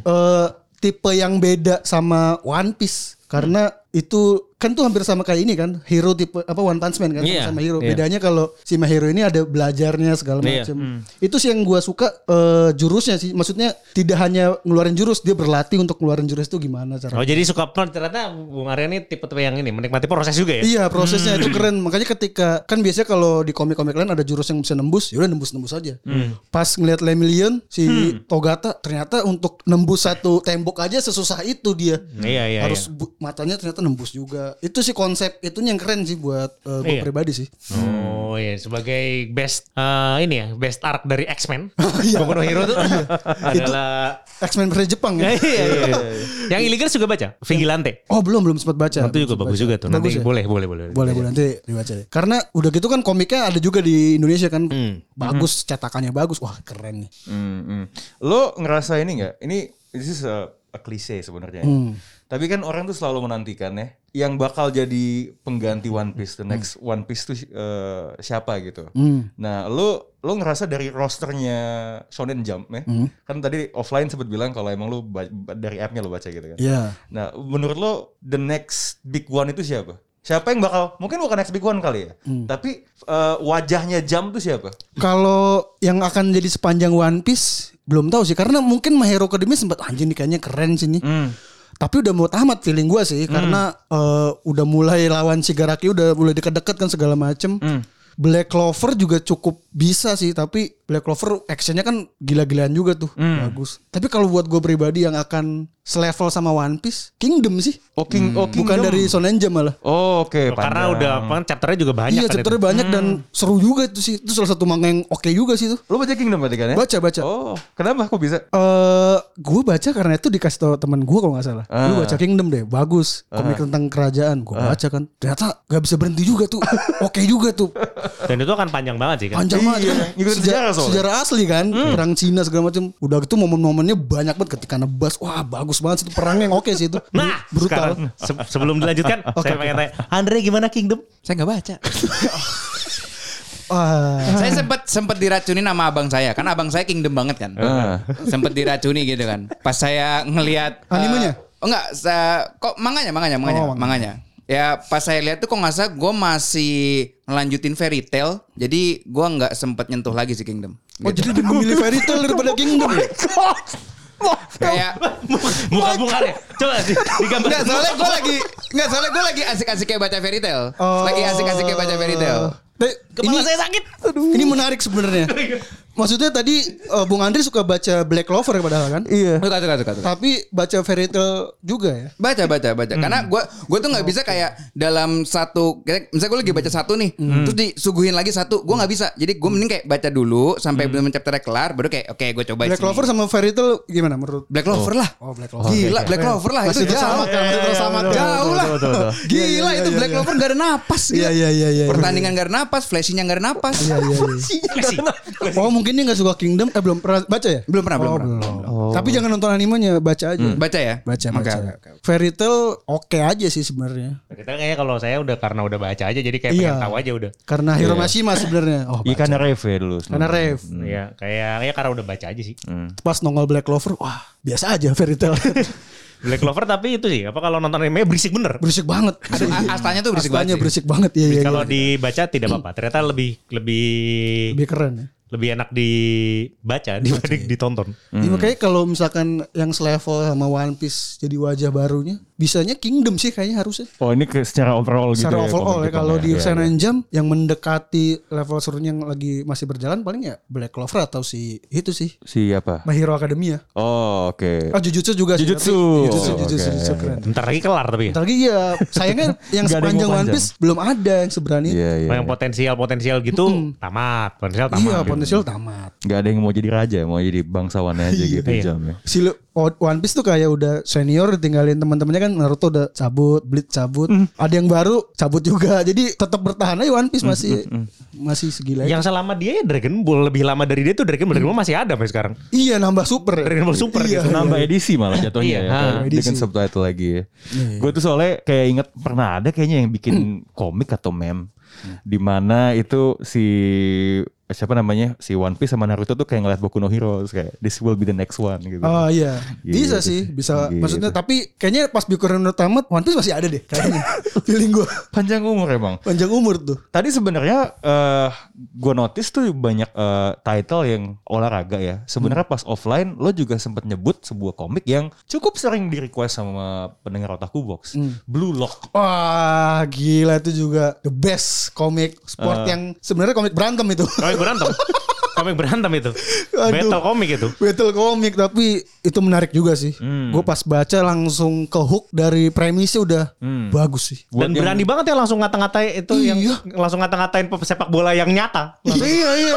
Speaker 5: tipe yang beda sama One Piece karena itu kan tuh hampir sama kayak ini kan hero tipe apa One Punch Man kan
Speaker 4: Iya,
Speaker 5: sama hero
Speaker 4: iya.
Speaker 5: bedanya kalau si Mahiro ini ada belajarnya segala
Speaker 4: Iya,
Speaker 5: macam itu sih yang gua suka eh, jurusnya sih maksudnya tidak hanya ngeluarin jurus dia berlatih untuk ngeluarin jurus itu gimana cara
Speaker 4: Oh, jadi suka ternyata Bu Arya nih tipe-tipe yang ini menikmati proses juga ya.
Speaker 5: Iya prosesnya itu keren makanya ketika kan biasanya kalau di komik-komik lain ada jurus yang bisa nembus ya udah nembus-nembus aja.
Speaker 4: Hmm.
Speaker 5: Pas ngeliat Lemillion si Togata ternyata untuk nembus satu tembok aja sesusah itu dia.
Speaker 4: Iya, iya,
Speaker 5: Harus bu- matanya ternyata nembus juga. Itu sih konsep itu yang keren sih buat eh, gue
Speaker 4: Iya.
Speaker 5: pribadi sih.
Speaker 4: Oh iya sebagai best eh, ini ya best arc dari X-Men.
Speaker 5: Iya.
Speaker 4: Boku no Hero tuh adalah
Speaker 5: X-Men versi Jepang
Speaker 4: iya,
Speaker 5: ya.
Speaker 4: iya, iya. Yang illegal juga baca Vigilante.
Speaker 5: Oh belum belum sempat baca.
Speaker 4: Itu juga
Speaker 5: Belum sempat
Speaker 4: bagus
Speaker 5: baca.
Speaker 4: juga tuh.
Speaker 5: Bagus
Speaker 4: Nanti
Speaker 5: ya?
Speaker 4: boleh, boleh, boleh.
Speaker 5: Boleh boleh nanti dibaca deh. Karena udah gitu kan komiknya ada juga di Indonesia kan.
Speaker 4: Hmm.
Speaker 5: Bagus cetakannya bagus. Wah keren nih.
Speaker 3: Hmm, hmm. Lo ngerasa ini nggak? Ini this is a, a cliche sebenarnya. ya.
Speaker 5: Hmm.
Speaker 3: Tapi kan orang tuh selalu menantikan ya, yang bakal jadi pengganti One Piece,
Speaker 5: Hmm.
Speaker 3: the next One Piece tuh eh, siapa gitu. Nah, lo lo ngerasa dari rosternya Shonen Jump ya?
Speaker 5: Hmm.
Speaker 3: Kan tadi offline sempat bilang kalau emang lo ba- ba- dari app-nya lo baca gitu kan.
Speaker 5: Iya.
Speaker 3: Nah, menurut lo the next big one itu siapa? Siapa yang bakal mungkin bukan next big one kali ya, tapi eh, wajahnya jam tuh siapa?
Speaker 5: Kalau yang akan jadi sepanjang One Piece belum tahu sih karena mungkin My Hero Academia sempat anjing nih kayaknya keren sih nih.
Speaker 4: Hmm.
Speaker 5: Tapi udah mau tamat feeling
Speaker 4: Hmm.
Speaker 5: gua sih karena eh, udah mulai lawan Shigaraki udah mulai deket-deket kan segala macem. Black Clover juga cukup bisa sih tapi Black Clover actionnya kan gila-gilaan juga tuh
Speaker 4: Hmm.
Speaker 5: bagus tapi kalau buat gue pribadi yang akan selevel sama One Piece Kingdom sih
Speaker 3: Oh, King, oh,
Speaker 5: bukan
Speaker 3: Kingdom.
Speaker 5: dari Shonen Jump malah
Speaker 3: Oh, oke.
Speaker 4: Karena
Speaker 3: pandang.
Speaker 4: udah apa, chapternya juga banyak
Speaker 5: iya
Speaker 4: kan itu.
Speaker 5: chapternya banyak dan seru juga itu sih itu salah satu manga yang oke juga sih tuh
Speaker 3: Lu baca Kingdom berarti
Speaker 4: Eh?
Speaker 3: kan ya?
Speaker 5: baca baca
Speaker 3: Oh, kenapa kok bisa?
Speaker 5: Eh, gue baca karena itu dikasih tau teman gue kalau nggak salah. Lu
Speaker 3: Ah.
Speaker 5: baca Kingdom deh, bagus. Komik tentang kerajaan, gue baca kan. Ternyata nggak bisa berhenti juga tuh. Oke juga tuh.
Speaker 4: Dan itu akan panjang banget sih kan.
Speaker 5: Panjang
Speaker 3: Iya,
Speaker 5: banget kan.
Speaker 3: ngikutin sejarah soalnya.
Speaker 5: sejarah asli kan, perang Cina segala macam. Udah gitu momen-momennya banyak banget ketika nebas. Wah bagus banget sih itu perang yang oke sih itu.
Speaker 4: Nah,
Speaker 5: brutal.
Speaker 4: sekarang, se- sebelum dilanjutkan, saya pengen tanya, Andre gimana Kingdom?
Speaker 2: Saya nggak baca.
Speaker 5: Wah.
Speaker 2: saya sempet sempet diracunin sama abang saya. Kan abang saya kingdom banget kan.
Speaker 3: Ah.
Speaker 2: sempet diracuni gitu kan. Pas saya ngelihat eh,
Speaker 5: Animenya?
Speaker 2: oh enggak, saya, kok manganya, manganya, manganya,
Speaker 5: manga.
Speaker 2: Oh, manganya. Ya pas saya lihat tuh kok nggak salah gue masih ngelanjutin fairy tale. Jadi gue nggak sempet nyentuh lagi si Kingdom.
Speaker 5: Oh
Speaker 2: Gitu.
Speaker 5: jadi lebih memilih fairy tale daripada Kingdom ya?
Speaker 2: kayak
Speaker 4: Bukan bukan ya. Coba di- digambar.
Speaker 2: Enggak, soalnya gue lagi enggak soalnya gue lagi asik-asik kayak baca fairy tale. Oh. Lagi asik-asik kayak baca fairy tale.
Speaker 5: Tapi
Speaker 4: Kepala saya sakit.
Speaker 5: Ini menarik sebenarnya. Maksudnya tadi eh, Bung Andri suka baca Black Clover padahal kan?
Speaker 3: Iya.
Speaker 2: Tuh, tuh, tuh, tuh, tuh.
Speaker 5: Tapi baca fairy tale juga ya.
Speaker 2: baca baca baca karena
Speaker 3: Hmm.
Speaker 2: gue gue tuh nggak bisa kayak dalam satu kayak misalnya gue lagi baca satu nih
Speaker 3: Hmm.
Speaker 2: terus disuguhin lagi satu gue nggak bisa jadi gue mending kayak baca dulu
Speaker 3: Hmm.
Speaker 2: sampai belum chapternya kelar baru kayak oke gue coba
Speaker 5: Black
Speaker 2: sini.
Speaker 5: Clover sama fairy tale gimana menurut?
Speaker 2: Black Clover lah
Speaker 5: Oh, Black Clover.
Speaker 2: gila Black Clover lah itu
Speaker 5: Masih
Speaker 2: jauh
Speaker 5: bersama kan, masih bersama kan.
Speaker 2: jauh lah
Speaker 3: betul, betul.
Speaker 5: Iya, iya,
Speaker 2: gila
Speaker 5: iya,
Speaker 2: itu
Speaker 5: iya,
Speaker 2: Black
Speaker 5: iya.
Speaker 2: Clover nggak ada napas
Speaker 5: Iya
Speaker 2: gila
Speaker 5: iya iya iya.
Speaker 2: pertandingan nggak ada napas flashingnya nggak ada napas
Speaker 5: Iya iya iya. Oh mungkin dia gak suka Kingdom Eh belum pernah baca ya?
Speaker 2: Belum pernah,
Speaker 5: Oh,
Speaker 2: belum pernah.
Speaker 5: Tapi jangan nonton animenya Baca aja
Speaker 2: baca ya
Speaker 5: Baca
Speaker 2: Oke,
Speaker 5: baca
Speaker 2: oke, oke.
Speaker 5: Fairy Tail oke aja sih sebenarnya
Speaker 4: Kita kayaknya kalau saya udah karena udah baca aja jadi kayak
Speaker 5: Iya.
Speaker 4: pengen tahu aja udah.
Speaker 5: Karena
Speaker 2: Iya.
Speaker 5: Hiro Mashima sebenarnya Oh
Speaker 3: Iya karena rave ya dulu.
Speaker 5: karena Rev
Speaker 4: Iya, kayak ya karena udah baca aja sih.
Speaker 5: Pas nongol Black Clover Wah biasa aja Fairy Tail
Speaker 4: Black Clover tapi itu sih, apa kalau nonton anime berisik bener.
Speaker 5: Berisik banget
Speaker 2: Aduh, a- astanya tuh berisik banget
Speaker 5: Astanya
Speaker 2: sih.
Speaker 5: berisik banget Iya iya iya.
Speaker 4: Kalau dibaca tidak apa-apa. Ternyata lebih lebih
Speaker 5: Lebih keren ya
Speaker 4: lebih enak dibaca dibanding ditonton.
Speaker 2: Hmm.
Speaker 5: Ya, makanya kalau misalkan yang selevel sama One Piece jadi wajah barunya, bisanya Kingdom sih kayaknya harusnya.
Speaker 3: Oh ini ke, secara overall gitu.
Speaker 5: Secara overall ya, kalau di
Speaker 3: sana
Speaker 5: Shonen Jump yang mendekati level serunya yang lagi masih berjalan paling ya Black Clover atau si itu sih
Speaker 3: Si apa?
Speaker 5: My Hero Academia.
Speaker 3: Oh oke.
Speaker 5: Oh Jujutsu juga sih.
Speaker 3: Jujutsu.
Speaker 5: tapi Jujutsu,
Speaker 3: Oh,
Speaker 5: Jujutsu,
Speaker 3: oke. Iya.
Speaker 5: Jujutsu, keren.
Speaker 4: Bentar lagi kelar tapi ya.
Speaker 5: Bentar lagi ya sayangnya yang
Speaker 3: Nggak ada yang
Speaker 5: sepanjang
Speaker 3: mau
Speaker 5: One
Speaker 3: panjang.
Speaker 5: Piece belum ada yang seberani.
Speaker 3: Iya iya.
Speaker 4: Kalau yang potensial-potensial gitu tamat, potensial tamat.
Speaker 5: Iya,
Speaker 4: gitu.
Speaker 5: potensial tamat.
Speaker 3: Gak ada yang mau jadi raja, mau jadi bangsawannya aja gitu
Speaker 4: Iya.
Speaker 3: jamnya.
Speaker 5: Si Lu- O- One Piece tuh kayak udah senior ditinggalin teman-temannya kan Naruto udah cabut, Bleach cabut, ada yang baru cabut juga. Jadi tetap bertahan aja One Piece masih masih segila. itu.
Speaker 4: Yang selama dia ya Dragon Ball lebih lama dari dia tuh Dragon Ball, Dragon Ball masih ada sampai sekarang.
Speaker 5: Iya nambah super. ya.
Speaker 4: Dragon Ball Super
Speaker 5: Iya,
Speaker 4: gitu.
Speaker 5: iya.
Speaker 3: Nambah edisi malah jatuhnya
Speaker 4: Iya,
Speaker 3: ya.
Speaker 4: ha.
Speaker 3: kayak Dengan subtitle lagi ya. Gue tuh soalnya kayak inget pernah ada kayaknya yang bikin komik atau meme. Dimana itu si eh, siapa namanya si One Piece sama Naruto tuh kayak ngeliat Boku no Hero terus kayak this will be the next one gitu.
Speaker 5: Oh iya,
Speaker 3: Gitu
Speaker 5: bisa
Speaker 3: sih.
Speaker 5: sih, bisa.
Speaker 3: Gitu.
Speaker 5: Maksudnya tapi kayaknya pas Bikuran udah tamat One Piece masih ada deh kayaknya. Feeling gue
Speaker 3: Panjang umur emang.
Speaker 5: panjang umur tuh.
Speaker 3: Tadi sebenarnya eh gue notice tuh banyak eh, title yang olahraga ya. Sebenarnya pas offline lo juga sempat nyebut sebuah komik yang cukup sering di request sama pendengar otakku box. Blue Lock.
Speaker 5: Wah gila itu juga the best komik sport yang sebenarnya komik berantem itu.
Speaker 4: Komik berantem. komik berantem itu.
Speaker 5: Aduh.
Speaker 4: Battle komik itu. Hmm.
Speaker 5: Battle komik tapi itu menarik juga sih. Gue pas baca langsung ke hook dari premisnya udah
Speaker 4: Hmm.
Speaker 5: bagus sih.
Speaker 4: Dan
Speaker 3: Buat yang-
Speaker 4: berani banget ya langsung ngata-ngatain itu yang
Speaker 5: Iya.
Speaker 4: langsung ngata-ngatain sepak bola yang nyata.
Speaker 5: iya iya iya.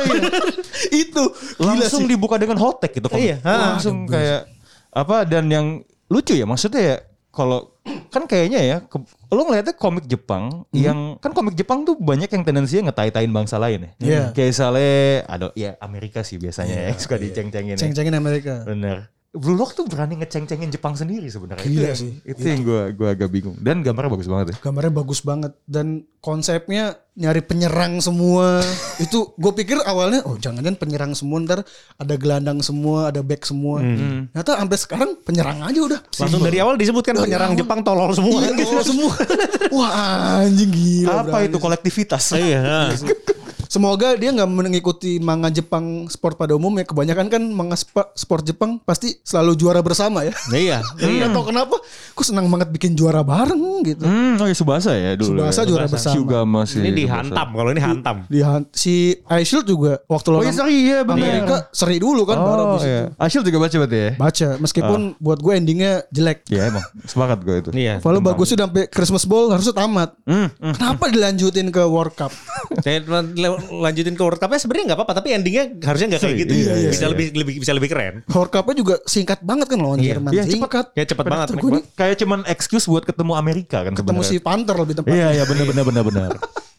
Speaker 5: itu gila
Speaker 3: langsung
Speaker 5: sih.
Speaker 3: dibuka dengan hotek gitu komik.
Speaker 4: Iya, ha.
Speaker 3: langsung kayak apa dan yang lucu ya maksudnya ya kalau kan kayaknya ya ke- lo ngeliatnya komik Jepang yang kan komik Jepang tuh banyak yang tendensinya ngetai-tain bangsa lain ya.
Speaker 5: Iya.
Speaker 3: Kayak misalnya ada ya Amerika sih biasanya ya, yang suka diceng-cengin. ya.
Speaker 5: Ceng-cengin Amerika.
Speaker 3: Bener. Blue Lock tuh berani ngeceng-cengin Jepang sendiri sebenarnya. Itu
Speaker 5: Gila
Speaker 3: yang-
Speaker 5: sih.
Speaker 3: Itu yang gua gua agak bingung. Dan gambarnya bagus banget ya.
Speaker 5: Gambarnya bagus banget dan konsepnya nyari penyerang semua. itu gue pikir awalnya oh jangan-jangan penyerang semua ntar ada gelandang semua, ada back semua. Ternyata sampai sekarang penyerang aja udah.
Speaker 4: Hmm. Langsung dari awal disebutkan penyerang
Speaker 5: awal.
Speaker 4: Jepang tolol semua. Ah,
Speaker 5: Iya, tolol semua. Wah anjing gila.
Speaker 3: Apa itu kolektivitas?
Speaker 4: Iya.
Speaker 5: Semoga dia nggak mengikuti manga Jepang sport pada umumnya. Kebanyakan kan manga spa- sport Jepang pasti selalu juara bersama ya.
Speaker 4: iya.
Speaker 5: Iya. Atau kenapa? Kok senang banget bikin juara bareng gitu.
Speaker 3: Hmm, oh ya Subasa ya dulu. ya.
Speaker 5: Subasa juara bersama.
Speaker 3: Hyuga masih.
Speaker 4: Ini
Speaker 3: Subasa.
Speaker 4: dihantam kalau ini hantam.
Speaker 5: Dihan- si Aishil juga waktu
Speaker 3: Oh
Speaker 5: lawan
Speaker 3: iya seri ya Bang.
Speaker 5: Amerika seri dulu kan
Speaker 3: Oh,
Speaker 5: bareng di situ.
Speaker 3: iya. Asyil juga baca berarti ya?
Speaker 5: Baca meskipun buat gue endingnya jelek.
Speaker 3: Iya emang, sepakat gue itu.
Speaker 4: Iya.
Speaker 5: Kalau bagus sih sampai Christmas Bowl harusnya tamat.
Speaker 3: Hmm,
Speaker 5: Kenapa dilanjutin ke World Cup?
Speaker 4: Saya lan- lanjutin ke World Cup-nya sebenarnya nggak apa-apa, tapi endingnya harusnya nggak kayak
Speaker 3: Sorry,
Speaker 4: gitu.
Speaker 3: iya, iya,
Speaker 4: bisa lebih lebih bisa lebih keren.
Speaker 5: World Cup-nya juga singkat banget kan lawan Jerman.
Speaker 3: Iya, cepet.
Speaker 5: singkat.
Speaker 4: Ya cepat banget.
Speaker 5: Gue nih
Speaker 3: Kayak cuman excuse buat ketemu Amerika kan
Speaker 5: ketemu si
Speaker 3: sebenarnya.
Speaker 5: Panther lebih tepat.
Speaker 3: Iya, iya benar benar benar benar.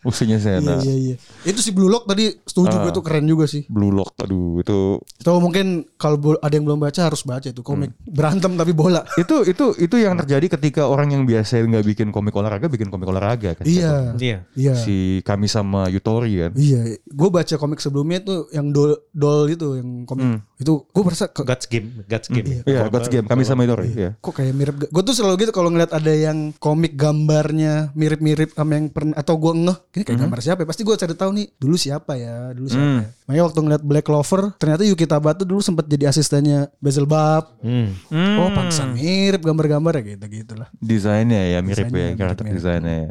Speaker 3: Musuhnya saya.
Speaker 5: Iya, iya, iya. Itu si Blue Lock tadi setuju gue itu keren juga sih.
Speaker 3: Blue Lock aduh itu
Speaker 5: Tahu mungkin kalau bo- ada yang belum baca harus baca itu komik berantem tapi bola.
Speaker 3: itu itu itu yang terjadi ketika orang yang biasa nggak bikin komik olahraga bikin komik olahraga kan
Speaker 5: Iya.
Speaker 4: Iya.
Speaker 5: Iya.
Speaker 3: si kami sama Yutori kan
Speaker 5: Iya, gue baca komik sebelumnya tuh yang dol dol itu yang komik itu gue merasa ke-
Speaker 4: God's game, God's game.
Speaker 3: Iya, God's Game kami sama Yutori iya.
Speaker 5: kok kayak mirip gue tuh selalu gitu kalau ngeliat ada yang komik gambarnya mirip-mirip sama yang pernah atau gue ngeh ini
Speaker 4: Mhm.
Speaker 5: kayak gambar siapa ya pasti gue cari tahu nih dulu siapa ya dulu siapa
Speaker 4: Hmm.
Speaker 5: ya makanya waktu ngeliat Black Clover ternyata Yuki Taba tuh dulu sempat jadi asistennya Basil Bab
Speaker 4: Hmm.
Speaker 5: oh pantesan mirip gambar-gambar ya gitu gitulah
Speaker 3: desainnya ya mirip ya karakter desainnya ya.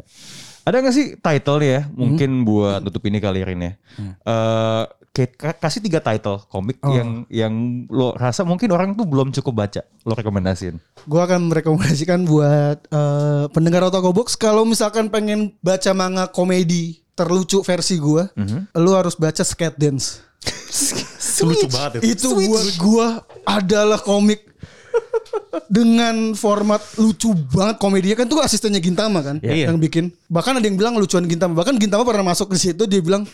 Speaker 3: Ada nggak sih title ya mungkin buat tutup ini kali Rin ya. Eh, ke- ka- kasih tiga title komik yang yang lo rasa mungkin orang tuh belum cukup baca lo rekomendasiin.
Speaker 5: gue akan merekomendasikan buat eh, pendengar Otago Box kalau misalkan pengen baca manga komedi terlucu versi gue
Speaker 4: Mhm.
Speaker 5: lu harus baca Skate Dance
Speaker 4: Lucu banget itu.
Speaker 5: itu buat gua adalah komik dengan format lucu banget komedinya kan tuh asistennya Gintama kan
Speaker 4: Iya.
Speaker 5: yang bikin bahkan ada yang bilang lucuan Gintama bahkan Gintama pernah masuk ke situ dia bilang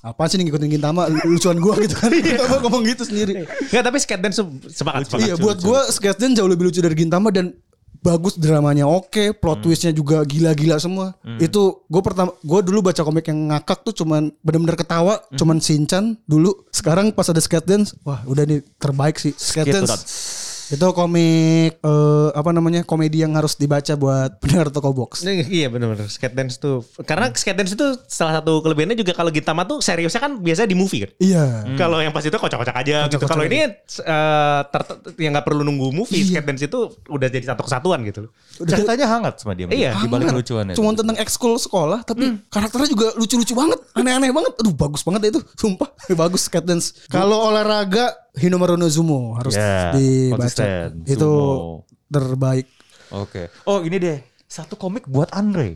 Speaker 5: apa sih nih ngikutin Gintama lucuan gua gitu kan
Speaker 4: Iya.
Speaker 5: Gintama ngomong gitu sendiri
Speaker 4: Enggak, tapi skate dance se- sepakat. sepakat.
Speaker 5: iya buat gua Sketch Dance jauh lebih lucu dari Gintama dan bagus dramanya oke plot twistnya juga gila-gila semua itu gue pertama gue dulu baca komik yang ngakak tuh cuman bener-bener ketawa cuman Shinchan dulu sekarang pas ada skate dance wah udah nih terbaik sih skate
Speaker 4: Skate
Speaker 5: dance itu komik eh, apa namanya komedi yang harus dibaca buat pendengar toko box
Speaker 4: Ini- Iya benar-benar skate dance tuh. Karena skate dance itu salah satu kelebihannya juga kalau Gintama tuh seriusnya kan biasanya di movie kan.
Speaker 5: iya
Speaker 3: Hmm.
Speaker 4: Kalau yang pas itu kocak-kocak aja gitu. Kalau ini eh, ter- yang nggak perlu nunggu
Speaker 3: Iya.
Speaker 4: movie, skate dance itu udah jadi satu kesatuan gitu.
Speaker 3: Ceritanya hangat sama dia.
Speaker 4: Iya.
Speaker 3: Di balik
Speaker 5: Hangat.
Speaker 3: kelucuannya.
Speaker 5: Cuman tentang ekskul sekolah tapi karakternya juga lucu-lucu banget, aneh-aneh banget. Aduh bagus banget deh itu, sumpah bagus skate dance. Kalau olahraga Hinomaru no Zumo harus
Speaker 3: Ya,
Speaker 5: dibaca.
Speaker 3: konsisten,
Speaker 5: Itu
Speaker 3: Zumo.
Speaker 5: terbaik
Speaker 3: Oke. Oh ini deh satu komik buat Andre.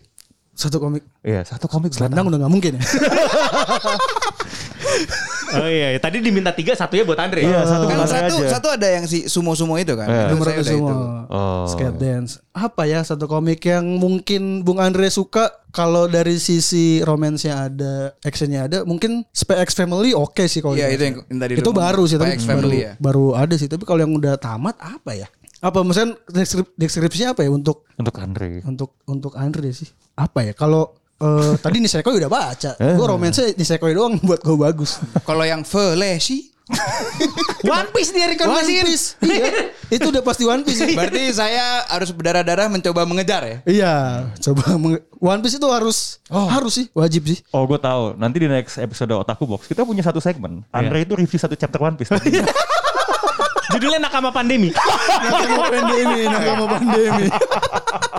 Speaker 5: satu komik.
Speaker 3: Iya satu komik buat
Speaker 5: Selendang udah nggak mungkin ya.
Speaker 4: Oh iya, iya. tadi diminta tiga, satunya buat Andre.
Speaker 3: Iya, satu
Speaker 2: Kan
Speaker 3: buat Andre
Speaker 2: satu
Speaker 3: aja. Iya.
Speaker 2: satu ada yang si sumo-sumo itu kan. Menurut
Speaker 5: Hinomaru
Speaker 2: saya
Speaker 5: no
Speaker 2: udah
Speaker 5: Zumo.
Speaker 2: itu.
Speaker 3: Oh.
Speaker 5: Skate dance. Apa ya satu komik yang mungkin Bung Andre suka kalau dari sisi romansnya ada, actionnya ada, mungkin SPX Family oke sih kalau
Speaker 2: Iya,
Speaker 5: dibaca.
Speaker 2: itu yang- yang tadi
Speaker 5: itu
Speaker 2: lu ngomong.
Speaker 5: baru sih tapi
Speaker 2: SPX
Speaker 5: baru,
Speaker 2: Family ya.
Speaker 5: baru ada sih tapi kalau yang udah tamat apa ya? Apa misalnya deskrip- deskripsinya apa ya untuk
Speaker 3: Untuk Andre.
Speaker 5: untuk untuk Andre sih? Apa ya kalau eh, tadi Nisekoi udah baca. Gue romansnya Nisekoi doang buat gue bagus.
Speaker 2: Kalau yang Velesi
Speaker 4: One Piece dia
Speaker 2: kan
Speaker 4: rekomendasiin.
Speaker 5: Piece. iya. Itu udah pasti One Piece.
Speaker 2: berarti saya harus berdarah-darah mencoba mengejar ya.
Speaker 5: Iya, coba menge- One Piece itu harus harus sih, wajib sih.
Speaker 3: Oh gue tahu. Nanti di next episode Otaku Box kita punya satu segmen. Andre itu review satu chapter One Piece.
Speaker 4: Judulnya Nakama Pandemi.
Speaker 5: Nakama pandemi, nakama pandemi.